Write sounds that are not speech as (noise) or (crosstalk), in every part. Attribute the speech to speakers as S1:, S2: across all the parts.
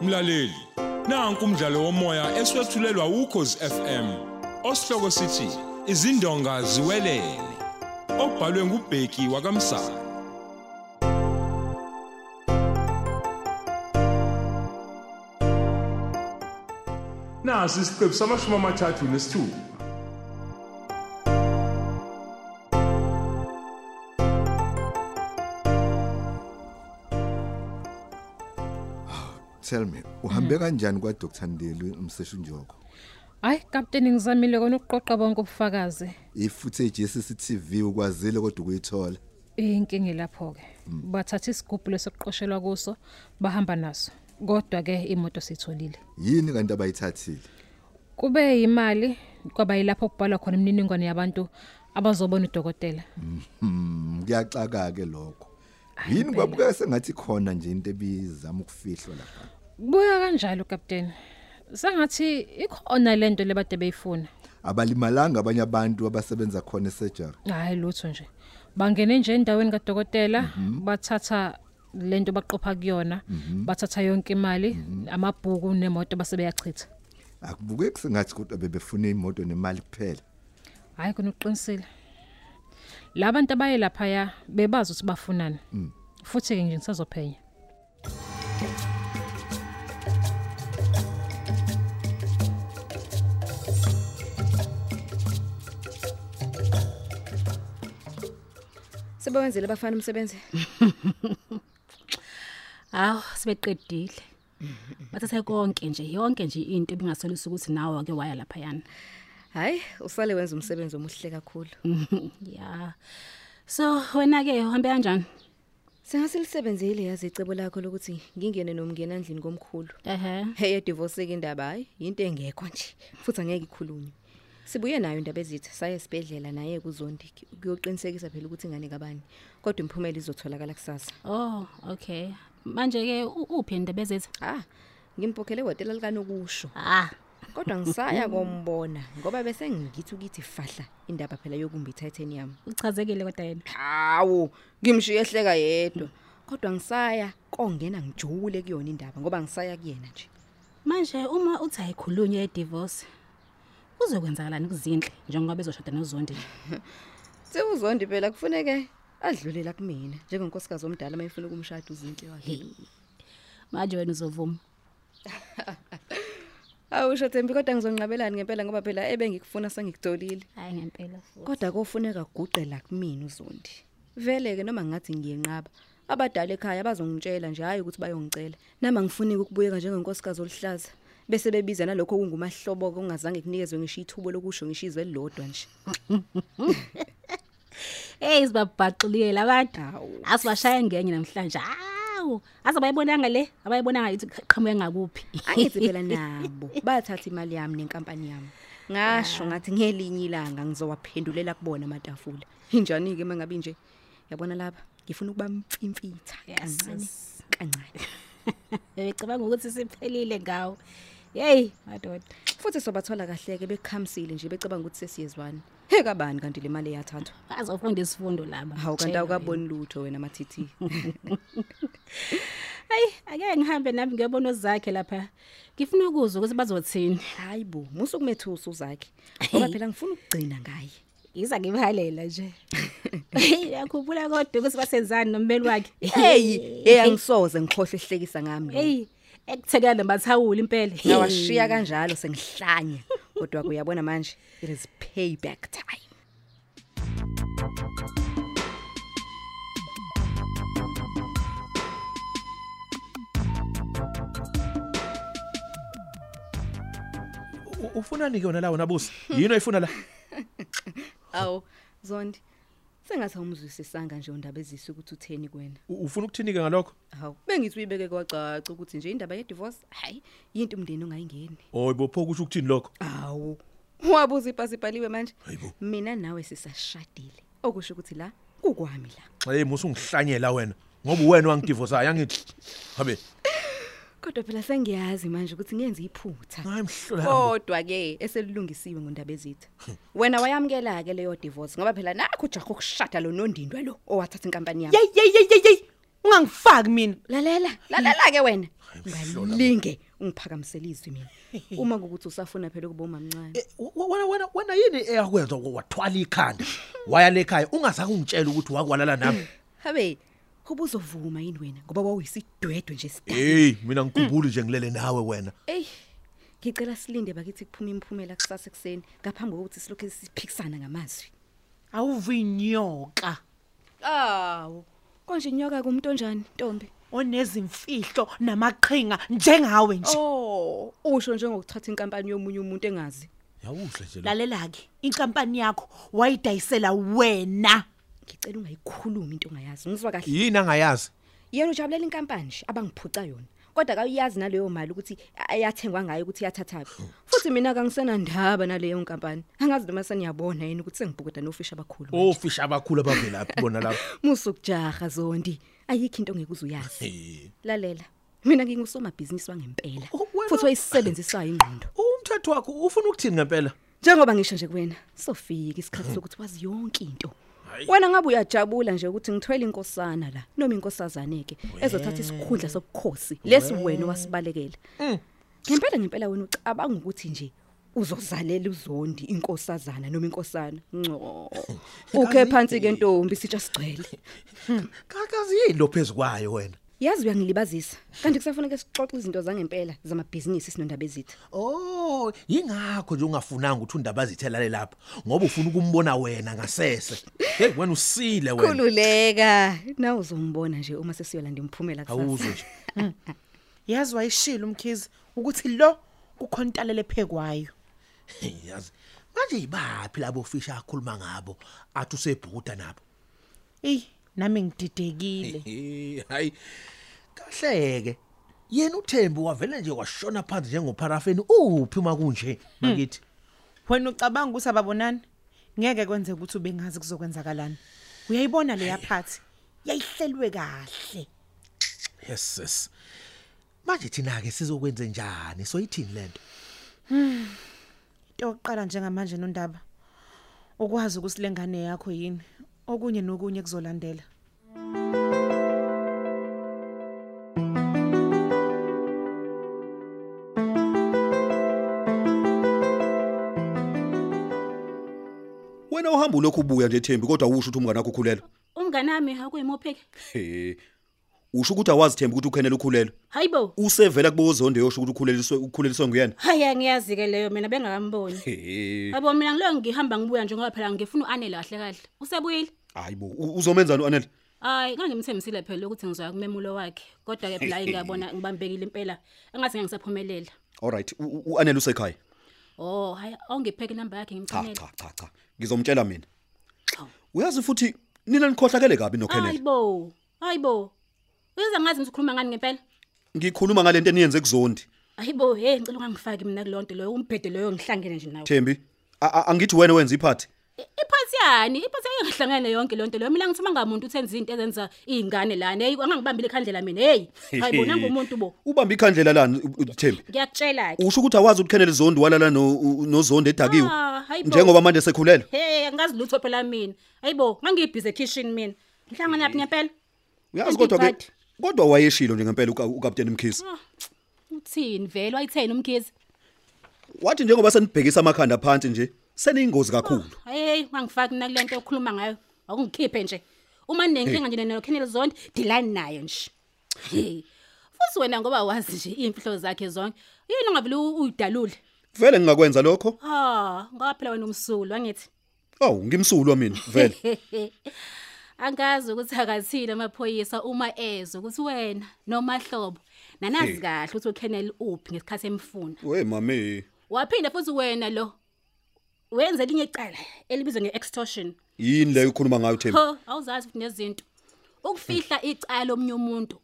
S1: Mlaleli, nanku umdlalo womoya eswetshulelwa ukhozi FM. Osihloko sithi izindonga ziwelele. Obhalwe ngubheki wakamsa. Nasi isiqephu samashumi amathathu nesithupha.
S2: Tell me, uhambe kanjani kwa Dr Ndelo umseshunjoko?
S3: Hayi kapteni ngizamile kona ukuqoqa bonke ubufakazi.
S2: Ifootage yeCCTV ukwazile kodwa ukuyithola.
S3: Inkingi lapho ke. Bathatha isigubhu lesokuqoshelwa kuso bahamba naso. Kodwa ke imoto sitholile.
S2: Yini kanti abayithathile?
S3: Kube imali kwaba yilapho kubhalwa khona imininingwane yabantu abazobona udokotela.
S2: Mhm, kuyaxaka ke lokho. Yini kwabuka sengathi khona nje into ebizama ukufihlwa lapha.
S3: Kubuya kanjalo kapteni. Sengathi ikhona lento lebade beyifuna.
S2: Abalimalanga abanye abantu abasebenza khona esurgery.
S3: Hayi lutho nje. Bangene nje endaweni kaDokotela bathatha lento baqopha kuyona, bathatha yonke imali, amabhuku nemoto basebeyachitha.
S2: Akubukeki sengathi kodwa bebefuna imoto nemali kuphela.
S3: Hayi kona uqinisile. Labantu abaye lapha ya bebazi ukuthi bafunani. Futhi ke nje ngisazophenya.
S4: sebewenzile abafana umsebenzi
S5: Aw, sibeqedile. Bathathe konke nje, yonke nje into ebingasolisa ukuthi nawe ake waya lapha yana.
S4: hayi usale wenza umsebenzi omuhle
S5: (laughs)
S4: kakhulu
S5: Yeah. So wena ke uhambe kanjani?
S4: sengaselisebenzeile yazi icebo lakho lokuthi ngingene nomngenandlini komkhulu
S5: Ehhe.
S4: eyedivorceke indaba hayi yinto engekho nje futhi angeke ikhulunywe sibuye nayo indaba ezitha saye sibhedlela naye kuzondi kuyoqinisekisa phela ukuthi ingane kabani kodwa imiphumela izotholakala kusasa
S5: Oh, okay. Manje ke u- uphi indaba ezethu?
S4: ah ngimpokhele ihhotela likanokusho
S5: Ah,
S4: kodwa ngisaya kombona ngoba bese ngithi ukuthi fahla indaba phela yokumba i-titanium
S5: uchazekile kodwa yena.
S4: hawu ngimshiye ehleka yedwa kodwa ngisaya kongena ngijule kuyona indaba ngoba ngisaya kuyena nje
S5: Manje uma uthi ayikhulunywe edivorce, kuzokwenzakalani kuzinhle njengoba ezoshada nozondi?
S4: sewuzondi phela kufuneke adlulela kumina njengenkosikazi omdala uma efuna ukumshada uzinhle wakhe
S5: Manje wena uzovuma.
S4: awusho thembi kodwa ngizonqabelani ngempela ngoba phela ebengikufuna sengikutholile
S5: Hayi ngempela futhi.
S4: kodwa kofuneka kuguqela kumina uzondi vele-ke noma ngathi ngiyenqaba abadala ekhaya bazongitshela nje hhayi ukuthi bayongicela nama ngifuneka ukubuyeka njengenkosikazi oluhlaza bese bebiza nalokho okungumahlobo-ke ongazange kunikezwe ngisho ithubo lokusho ngisho izwe elilodwa nje
S5: Hey, sibabhaqulile labantu.
S4: Hawu.
S5: Asibashaye ngenye namhlanje. Hawu, asabayibonanga le, abayibonanga ithi qhamuke ngakuphi.
S4: angithi
S5: (laughs)
S4: phela nabo bathatha imali yami nenkampani yami
S5: Ah.
S4: ngasho ngathi ngelinye ilanga ngizowaphendulela kubona amatafula injani-ke uma ngabe nje yabona lapha ngifuna ukuba mfimfitha kancane
S5: Yes.
S4: kancane
S5: Bebecabanga ukuthi siphelile ngawo. Hey, madoda.
S4: futhi sobathola kahle-ke bekhamisile nje becabanga ukuthi sesiyezwana he kabani kanti le mali eyathathwa
S5: Bazofunda isifundo laba.
S4: hawu kanti
S5: Tshela
S4: awukaboni lutho wena mathithi
S5: wena. Hayi, Eh, ake ngihambe nami ngiyobona zakhe lapha. Ngifuna ukuzwa ukuthi bazothini.
S4: hayi bo musukumethusa uzakhe ngoba phela ngifuna ukugcina ngaye
S5: Iza ngibahalela nje. Uyakhumbula kodwa ukuthi basenzani
S4: (laughs)
S5: nommeli wakhe.
S4: eyi eyi angisoze ngikhohlwe ehlekisa ngami mina.
S5: Hey, ekuthekela namathawuli impela.
S4: ngawashiya kanjalo sengihlanye kodwa kuyabona manje it is payback time
S6: U- ufunani ke wena la wena busi yini oyifuna la
S4: awu zondi sengathi awumzwisisanga nje undaba ezise ukuthi utheni kwena
S6: U- ufuna ukuthini ke ngalokho
S4: hawu bengithi uyibeke kwacaca ukuthi nje indaba yedivorce hhayi yinto umndeni ongayingeni
S6: oyi bopho kusho ukuthini lokho
S4: awu wabuza ipasi ibhaliwe manje
S6: Hayibo.
S4: mina nawe sisashadile okusho ukuthi la kukwami la
S6: xa ye musu ungihlanyela wena ngoba uwena wangidivorsayo angithi habe
S4: kodwa phela sengiyazi manje ukuthi ngenze iphutha
S6: hayi mhlolo
S4: kodwa-ke eselilungisiwe ngondaba ezitha wena wayamukela-ke leyo divorce ngoba phela nakho ujaha ukushada lo nondindwa lo owathatha inkampani yami
S6: yeyeyeyeyeyi
S7: ungangifaki mina
S4: lalela lalela ke wena ngalinge ungiphakamisele izwi mina uma kukuthi usafuna phela ukuba umamncane
S6: Eh, w- wena wena wena yini eyakwenza wa- wathwala ikhanda waya lekhaya ungazange ungitshela ukuthi wakwalala nami
S4: habe ubuzovuma yini wena ngoba wawuyisidwedwe nje sta
S6: hey mina ngikubuli nje ngilele nawe wena
S4: ey ngicela silinde bakithi kuphuma imphumela kusasa ekseni ngaphambi kokuthi silokhu siphikisana ngamazwi
S7: awuvinyoka
S4: awu konje inyoka kumuntu onjani ntombi
S7: onezimfihlo namaqhinga njengawe nje
S4: oh usho njengokuthatha inkampani yomunye umuntu engazi
S6: yawuhle nje lo.
S7: lalela-ke inkampani yakho wayidayisela wena
S4: ngicela ungayikhulumi into ongayazi ngizwa kahle
S6: yini angayazi
S4: yena ujabulela inkampani nje abangiphuca yona kodwa kawuyazi naleyo mali ukuthi ayathengwa ngayo ukuthi iyathathaphi futhi mina kangisenandaba naleyo nkampani angazi noma seniyabona yini ukuthi sengibhukuda nofisha abakhulu manje.
S6: ofisha abakhulu abavelaphi bona lapho
S4: musukujaha zondi ayikho into ngeke uzuyazi
S6: Eh,
S4: lalela mina ngingusomabhizinisi wangempela
S6: Oh, wena-
S4: futhi wayisebenzisayo ingqondo
S6: umthetho wakho ufuna ukuthini ngempela
S4: njengoba ngisho nje kuwena sofika isikhathi sokuthi wazi yonke into wena ngabe uyajabula nje ukuthi ngithwele inkosana la noma inkosazaneke ezothatha isikhundla sobukhosi lesi wena wasibalekela ngempela ngempela wena ucabanga ukuthi nje uzozalela uzondi inkosazana noma inkosana ngco ukhe phansi ke ntombi sitsha sigcwele
S6: kakazi yini lo phezu kwayo wena
S4: yazi uyangilibazisa kanti kusafuneka sixoxe izinto zangempela zamabhizinisi sinondaba ezithu
S6: Oh, yingakho nje ungafunanga ukuthi undaba zithelale lapha ngoba ufuna ukumbona wena ngasese. Hey wena usile wena.
S4: khululeka nawe uzombona nje uma sesiyolanda imphumela kusasa
S6: Awuzwe nje.
S7: yazi wayishile umkhizi ukuthi lo kukhona intalelo ephekwayo
S6: Hey, Yazi. Manje yibapi labo ofisha akhuluma ngabo athi usebhuda nabo.
S7: eyi nami ngididekile
S6: Eh, Hayi. Kahleke. Yena uThembi wavele nje washona phansi njengoparafeni uphi uma kunje makithi.
S7: wena ucabanga ukuthi ababonani ngeke kwenzeka ukuthi ubengazi kuzokwenzakalani uyayibona leya phathi yayihlelwe kahle
S6: Yes yes. Manje thina ke sizokwenze njani? Soyithini lento?
S7: into yokuqala njengamanje nondaba ukwazi ukuthi lengane yakho yini okunye nokunye kuzolandela
S8: wena uhamba ulokhu ubuya nje Thembi kodwa usho ukuthi umngane wakho ukhulelwe
S5: umnganami akuyimopheke
S8: he usho ukuthi awazi Thembi ukuthi ukhenela ukhulelwe
S5: hayibo
S8: usevela kubozondo yosho ukuthi ukhuleliswe ukhuleliswe nguyena
S5: hayi angiyazi ke leyo mina bengakamboni
S8: he
S5: yabo mina ngilo ngihamba ngibuya nje ngoba phela ngifuna uanele kahle kahle usebuyile
S8: hayibo u- uzomenzani uanele
S5: hayi ngangimthembisile phela ukuthi ngizoya kumemulo wakhe kodwa ke phela hayi ngiyabona ngibambekile impela engathi ngeke ngisaphumelela
S8: alright u- u- uanele usekhaya
S5: oh hayi awungipheke inamba yakhe
S8: cha
S5: ngimchanele
S8: cha cha cha ngizomtshela mina
S5: Xawu.
S8: uyazi futhi nina nikhohlakele kabi nokhenela
S5: hayibo hayibo uyenza ngazi ngithi ukhuluma ngani ngempela
S8: ngikhuluma ngale nto eniyenze kuzondi
S5: hayibo hey ngicela ungangifaki mina kulonto loyo umbhede loyo ngihlangene nje nawe
S8: Thembi a- a- angithi wena wenza iphathi
S5: iphathi yani iphathi engihlangene yonke lonto loyo mina ngithuma ngamuntu uthenza izinto ezenza izingane lana hey angangibambile ikhandlela mina hey hayibo nangumuntu bo
S8: ubamba ikhandlela lani u- u- Thembi
S5: ngiyakutshela ke
S8: usho ukuthi awazi ukuthi khenela izondi walala no u- nozondi edakiwe
S5: Ah, hayibo.
S8: njengoba manje sekhulela
S5: hey angazi lutho phela mina hayibo ngangiyibhize ekitchen mina ngihlangana yaphi ngempela
S8: uyazi
S5: Empty
S8: kodwa ke
S5: bud.
S8: kodwa wayeshilo nje ngempela uka- ukapteni Mkhize
S5: uthini vele wayitheni umkhizi
S8: wathi njengoba senibhekisa amakhanda phansi nje seniyingozi kakhulu
S5: hey ungangifaki mina kulento okhuluma ngayo awungikhiphe nje uma nenkinga nje nenokenele zonke dilani nayo nje Hey. futhi wena ngoba wazi nje imfihlo zakhe zonke yini ungavile u- uyidalule
S8: vele ngingakwenza lokho
S5: ah ngaphela wena umsulu angithi
S8: awu ngimsulwa mina vele
S5: (laughs) angazi ukuthi akathini amaphoyisa uma ezwe ukuthi wena nomahlobo nanazi kahle ukuthi uKennel uphi ngesikhathi emfuna
S8: we mami
S5: waphinda futhi wena lo wenze linye icala elibizwa ngeextortion
S8: yini leyo ukhuluma ngayo Thembi
S5: ho awuzazi futhi nezinto ukufihla icala lomunye umuntu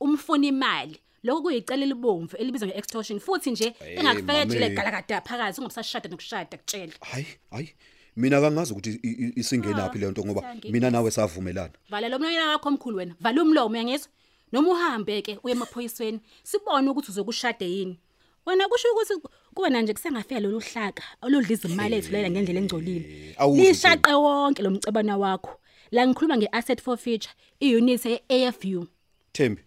S5: umfuna imali lokho kuyicala elibomvu elibizwa ngeextortion futhi nje engakufeke
S8: mame.
S5: jile galakada phakathi ungabusashada nokushada kutshela
S8: hayi hayi mina kangazi ukuthi i- i- isingenaphi leyo nto ngoba
S5: ngiyazi.
S8: mina nawe savumelana
S5: vala lo mlomo wakho omkhulu wena vala umlomo yangizwa noma uhambe ke uye emaphoyisweni sibone ukuthi uzokushade yini wena kusho ukuthi kuwena nje kusengafika lolu hlaka oludla izimali ethulela ngendlela engcolile
S8: Eh, awuzwe
S5: lishaqe wonke lo mcebana wakho la ngikhuluma ngeasset forfeiture iunit yeAFU
S8: Thembi.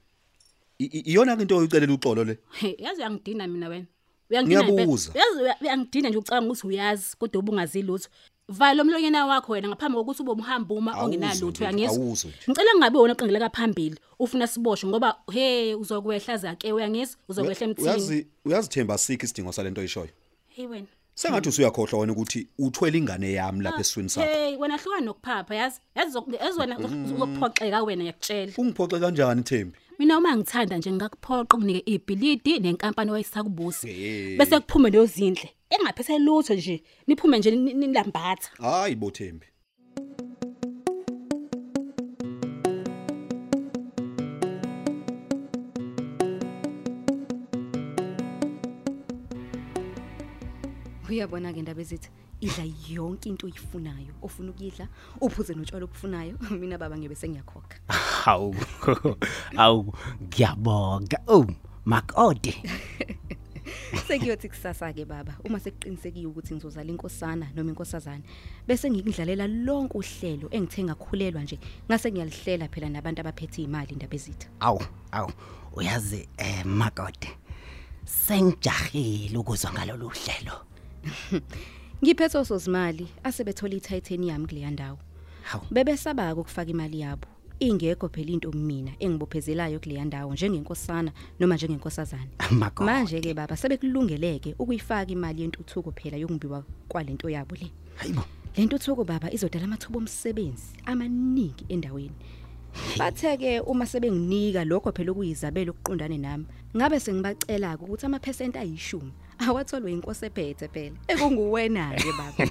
S8: i- i- Iyona ke into oyicelela uxolo le.
S5: Hey, yazi uyangidina mina wena. Uyangidina impela.
S8: Ngiyabuza.
S5: Yazi uya- uyangidina nje ucabanga ukuthi uyazi kodwa ubungazi lutho. Vala umlonyana wakho wena ngaphambi kokuthi ube umhamba uma
S8: Awuzwe nje,
S5: ongenalutho
S8: awuzwe
S5: uyangizwa.
S8: nje.
S5: Ngicela ngingabe wona oqingeleka phambili ufuna siboshwe ngoba hey uzokwehla zake uyangizwa uzokwehla emthini.
S8: Uyazi uyazithemba sikho isidingo salento oyishoyo.
S5: Hey wena.
S8: Sengathi usuyakhohlwa wena ukuthi uthwele ingane yami lapha eswini sakho.
S5: Hey wena hluka nokuphapha yazi. Yazi uzoku- yazi wena uzophoxeka wena ngiyakutshela.
S8: Ungiphoxe kanjani Thembi?
S5: Mina uma ngithanda nje ngakuphoqa unginike ibhilidi nenkampani oyisakubusi. Bese kuphume lozindle. Engaphethe lutho nje. Niphume nje ni- nilambatha.
S8: Hayi bo Thembi.
S4: uyabona-ke ndaba ezithi idla yonke into oyifunayo ofuna ukuyidla uphuze notshwala obufunayo (laughs) mina baba ngiyobe sengiyakhokha
S9: (laughs) Hawu. Awu ngiyabonga. Oh, makode.
S4: sekuyothi kusasa-ke baba uma sekuqinisekiwe ukuthi ngizozala inkosana noma inkosazane bese ngikudlalela lonke uhlelo engithe ngakhulelwa nje ngase ngiyalihlela phela nabantu abaphethe iy'mali indaba ezitha
S9: Awu, awu. Uyazi eh makode. Sengijahile ukuzwa ngalolu hlelo.
S4: ngiphethe osozimali asebethole i-titanium kuleya ndawo
S9: Hawu.
S4: bebesabaka ukufaka imali yabo ingekho phela into mina engibophezelayo kuleya ndawo njengenkosana noma njengenkosazane
S9: Makode.
S4: manje-ke baba sebekulungele-ke ukuyifaka imali yentuthuko phela yokumbiwa kwalento yabo le
S9: Hayibo.
S4: le ntuthuko baba izodala amathuba omsebenzi amaningi endaweni bathe-ke uma sebenginika lokho phela okuyizabelo okuqondane nami ngabe sengibacela-ke ukuthi amaphesenti ayishumi awatholwe inkosi ephethe phela ekunguwena-ke baba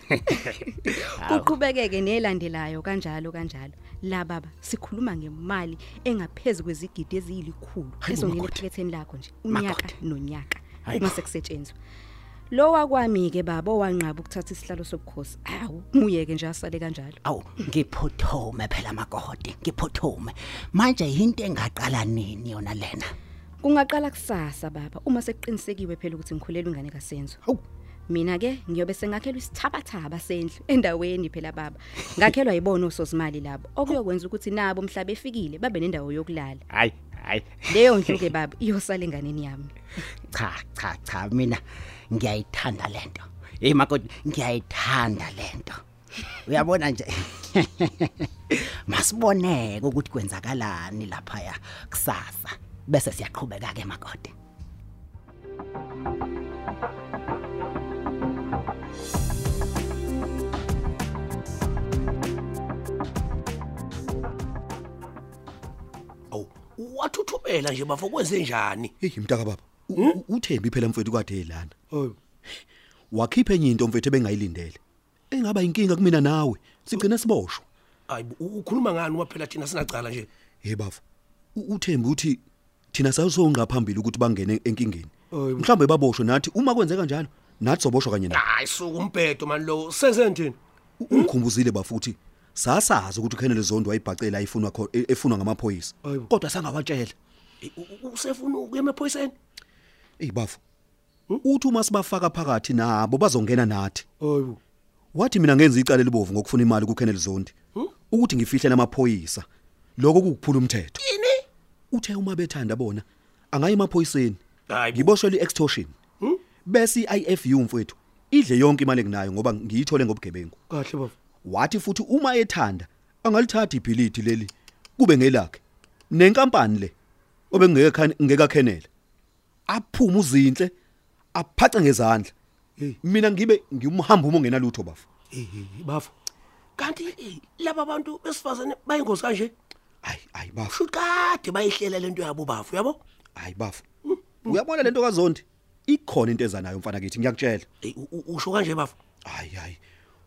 S4: kuqhubeke-ke nelandelayo kanjalo kanjalo la baba sikhuluma ngemali engaphezu kwezigidi eziyilikhulu
S9: Hayi bo,
S4: ezongena
S9: makoti.
S4: ephaketheni lakho nje
S9: Makoti.
S4: unyaka nonyaka
S9: Hayi
S4: uma
S9: bo.
S4: sekusetshenzwa lo wakwami-ke baba owanqaba ukuthatha isihlalo sobukhosi awu nguye-ke nje asale kanjalo
S9: Awu, ngiphuthume phela makode. Ngiphuthume. Manje into engaqala nini yona lena?
S4: kungaqala kusasa baba uma sekuqinisekiwe phela ukuthi ngikhulelwe ingane kasenzo
S9: Hawu.
S4: mina-ke ngiyobe sengakhelwa isithabathaba sendlu endaweni phela baba ngakhelwa yibona osozimali labo okuyokwenza ukuthi nabo mhlaba efikile babe nendawo yokulala
S9: Hayi, hayi.
S4: leyo ndlu-ke baba iyosala enganeni yami
S9: cha cha cha mina ngiyayithanda lento hey makoti ngiyayithanda lento uyabona nje (laughs) masiboneke ukuthi kwenzakalani lapha ya kusasa bese siyaqhubeka ke makoti
S10: Awu, wathuthumela nje bafo kwenze njani? Hmm?
S8: Hey mntaka baba. u- u- Uthembi phela mfethu kade elana.
S10: Oh.
S8: Wakhipha enye into mfethu ebengayilindele. Engaba inkinga kumina nawe. Sigcina siboshwe.
S10: Hayi, bo, u- ukhuluma ngani waphela thina sinacala nje?
S8: Hey baba. u- Uthembi uthi thina sasongqa phambili ukuthi bangene enkingeni. Mhlawumbe baboshwe nathi uma kwenzeka njalo nathi soboshwa kanye nawe.
S10: Hayi, suka umbhedo man lo. Senze ndini?
S8: Ungikhumbuzile bafuthi. Sasazi ukuthi uKhenele Zondo wayibhacela ayifunwa kho- e- efunwa ngamaphoyisa. Kodwa sangawatshela.
S10: Eh, u- u- Usefuna ukuya emaphoyiseni? Hm?
S8: Ey bafu. Uthi uma sibafaka phakathi nabo bazongena nathi.
S10: Hayibo.
S8: Wathi mina ngenza icala libovu ngokufuna imali kuKenneth Zondi.
S10: Hm?
S8: Ukuthi ngifihle namaphoyisa. Lokho kukuphula umthetho. Yini? Uthe uma bethanda bona angayi emaphoyiseni.
S10: Hayi, bo. Hm?
S8: Ngiboshwe iextortion. Bese iIFU mfowethu idle yonke imali enginayo ngoba ngiyithole ngobugebengu.
S10: Kahle bafo.
S8: Wathi futhi uma ethanda angalithatha ibhilidi leli kube ngelakhe. Nenkampani le obengeke ngeka Kenneth. Aphuma uzinhle aphace ngezandla. Mina ngibe ngimhamba uma ungenalutho bafu.
S10: Eh, eh, bafo. Kanti eh, laba bantu besifazane bayingozi kanje.
S8: Hayi hayi bafu.
S10: Shukade bayihlela lento yabo bafo, Mm, yabo?
S8: Hayi bafu. Uyabona lento kaZondi? Ikhona into ezanayo mfana kithi ngiyakutshela.
S10: Eh, u- u- usho kanje bafo.
S8: Hayi hayi.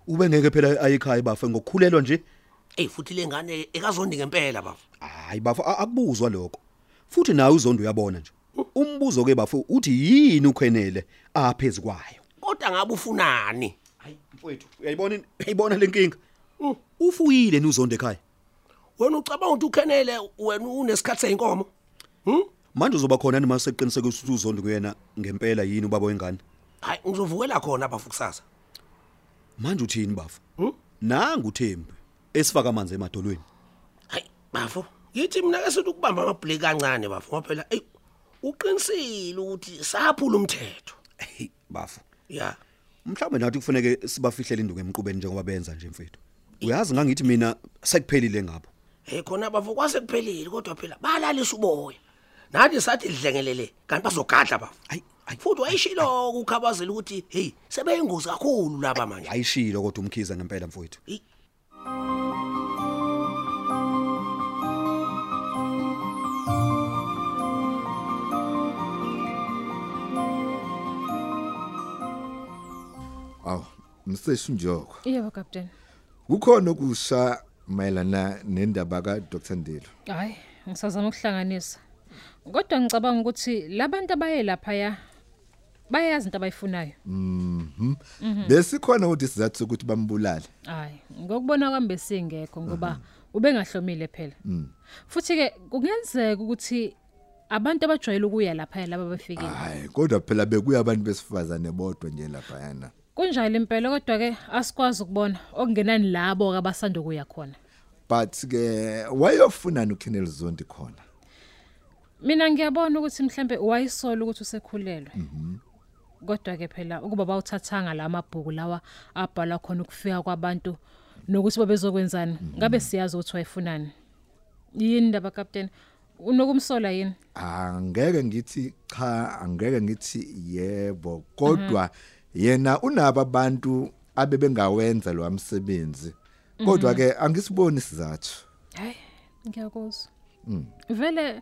S8: Ube ngeke phela ayekhaya bafu ngokukhulelwa nje.
S10: Eh, futhi lengane ekazondi ngempela bafo.
S8: Hayi bafu a- akubuzwa lokho. Futhi nawe uZondi uyabona nje. Umbuzo ke bafu uthi yini uKhenele aphezulu kwayo.
S10: Kodwa ngabe ufunani?
S8: Hayi mfowethu, uyayibona in- uyayibona lenkinga. Ufuyile nuZondi ekhaya.
S10: Wena ucabanga ukuthi ukhenele wena unesikhathe inkomo?
S8: Manje uzoba khona nima seqinisekile ukuthi uZondi kuyena ngempela yini ubaba wengane.
S10: Hayi, ngizovukela khona bafo kusasa.
S8: Manje uthini bafu? Nanga uThembi esifaka amanzi emadolweni.
S10: Hayi, bafo, yithi mina ke sithi ukubamba amabhuleki kancane bafu ngoba phela eyi uqinisile ukuthi saphula umthetho
S8: Hey bafu.
S10: ya
S8: Mhlawumbe nathi kufanele sibafihlele induku emqubeni njengoba benza nje mfethu. Uyazi ngangithi mina sekuphelile ngabo.
S10: hey khona bafu kwase kuphelile kodwa phela balalisa uboya nathi sathi dlengelele kanti bazogadla bafu futhi wayishilo ukukhabazela ukuthi hey sebeyingozi kakhulu laba manje
S8: Ayishilo kodwa umkhize ngempela mfowethu.
S2: Aw, mseshu njoko.
S3: Yebo captain.
S2: Kukhona okusha mayelana nendaba ka Dr Ndilo.
S3: Hayi, ngisazama ukuhlanganisa. Kodwa ngicabanga ukuthi labantu abaye lapha ya bayazi into abayifunayo.
S2: Mhm.
S3: Mhm.
S2: Besikhona ukuthi sizathu sokuthi bambulale.
S3: Hayi, ngokubona kwami besingekho ngoba ubengahlomile phela.
S2: Mhm.
S3: Futhi ke kungenzeka ukuthi abantu abajwayele ukuya lapha laba bafikile.
S2: Hayi, kodwa phela bekuya abantu besifazane bodwa nje lapha yana.
S3: Kunjalo impela kodwa ke asikwazi ukubona okungenani labo ke abasanda kuya khona.
S2: But ke wayofuna uKenneth Zondi khona.
S3: Mina ngiyabona ukuthi mhlambe wayisola ukuthi usekhulelwe. Kodwa ke phela ukuba bawuthathanga lamabhuku lawa abhala khona ukufika kwabantu nokuthi babezokwenzani. Ngabe siyazi ukuthi wayifunani. Yini ndaba captain? Unokumsola yini?
S2: Angeke ngithi cha, angeke ngithi yebo, kodwa yena unabo abantu abebengawenza lo msebenzi. Kodwa ke angisiboni sizathu.
S3: Hayi, ngiyakuzwa.
S2: Mm.
S3: Vele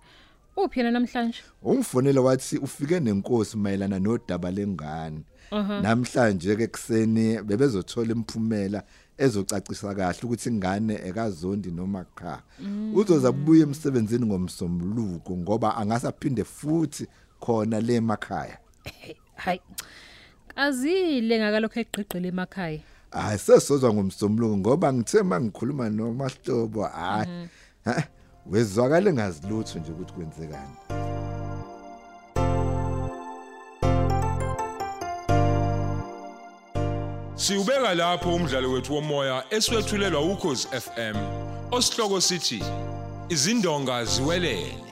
S3: uphi yena namhlanje?
S2: Umfonele wathi ufike nenkosi mayelana nodaba lengane.
S3: Mhm.
S2: Namhlanje ke kuseni bebezothola imphumela ezocacisa kahle ukuthi ingane ekazondi noma cha.
S11: Mm.
S2: Uzoza kubuya emsebenzini ngomsombuluko ngoba angasaphinde futhi khona le makhaya.
S3: Hayi. Azile ngakalokho egqigqile emakhaya.
S2: Hayi sesozwa ngomsombuluko ngoba ngithe mangikhuluma nomahlobo hayi. Ha? Wezwakale ngazilutho nje ukuthi kwenzekani.
S1: Siubeka lapho umdlalo wethu womoya eswetshulelwa ukhozi FM. Osihloko sithi izindonga ziwelele.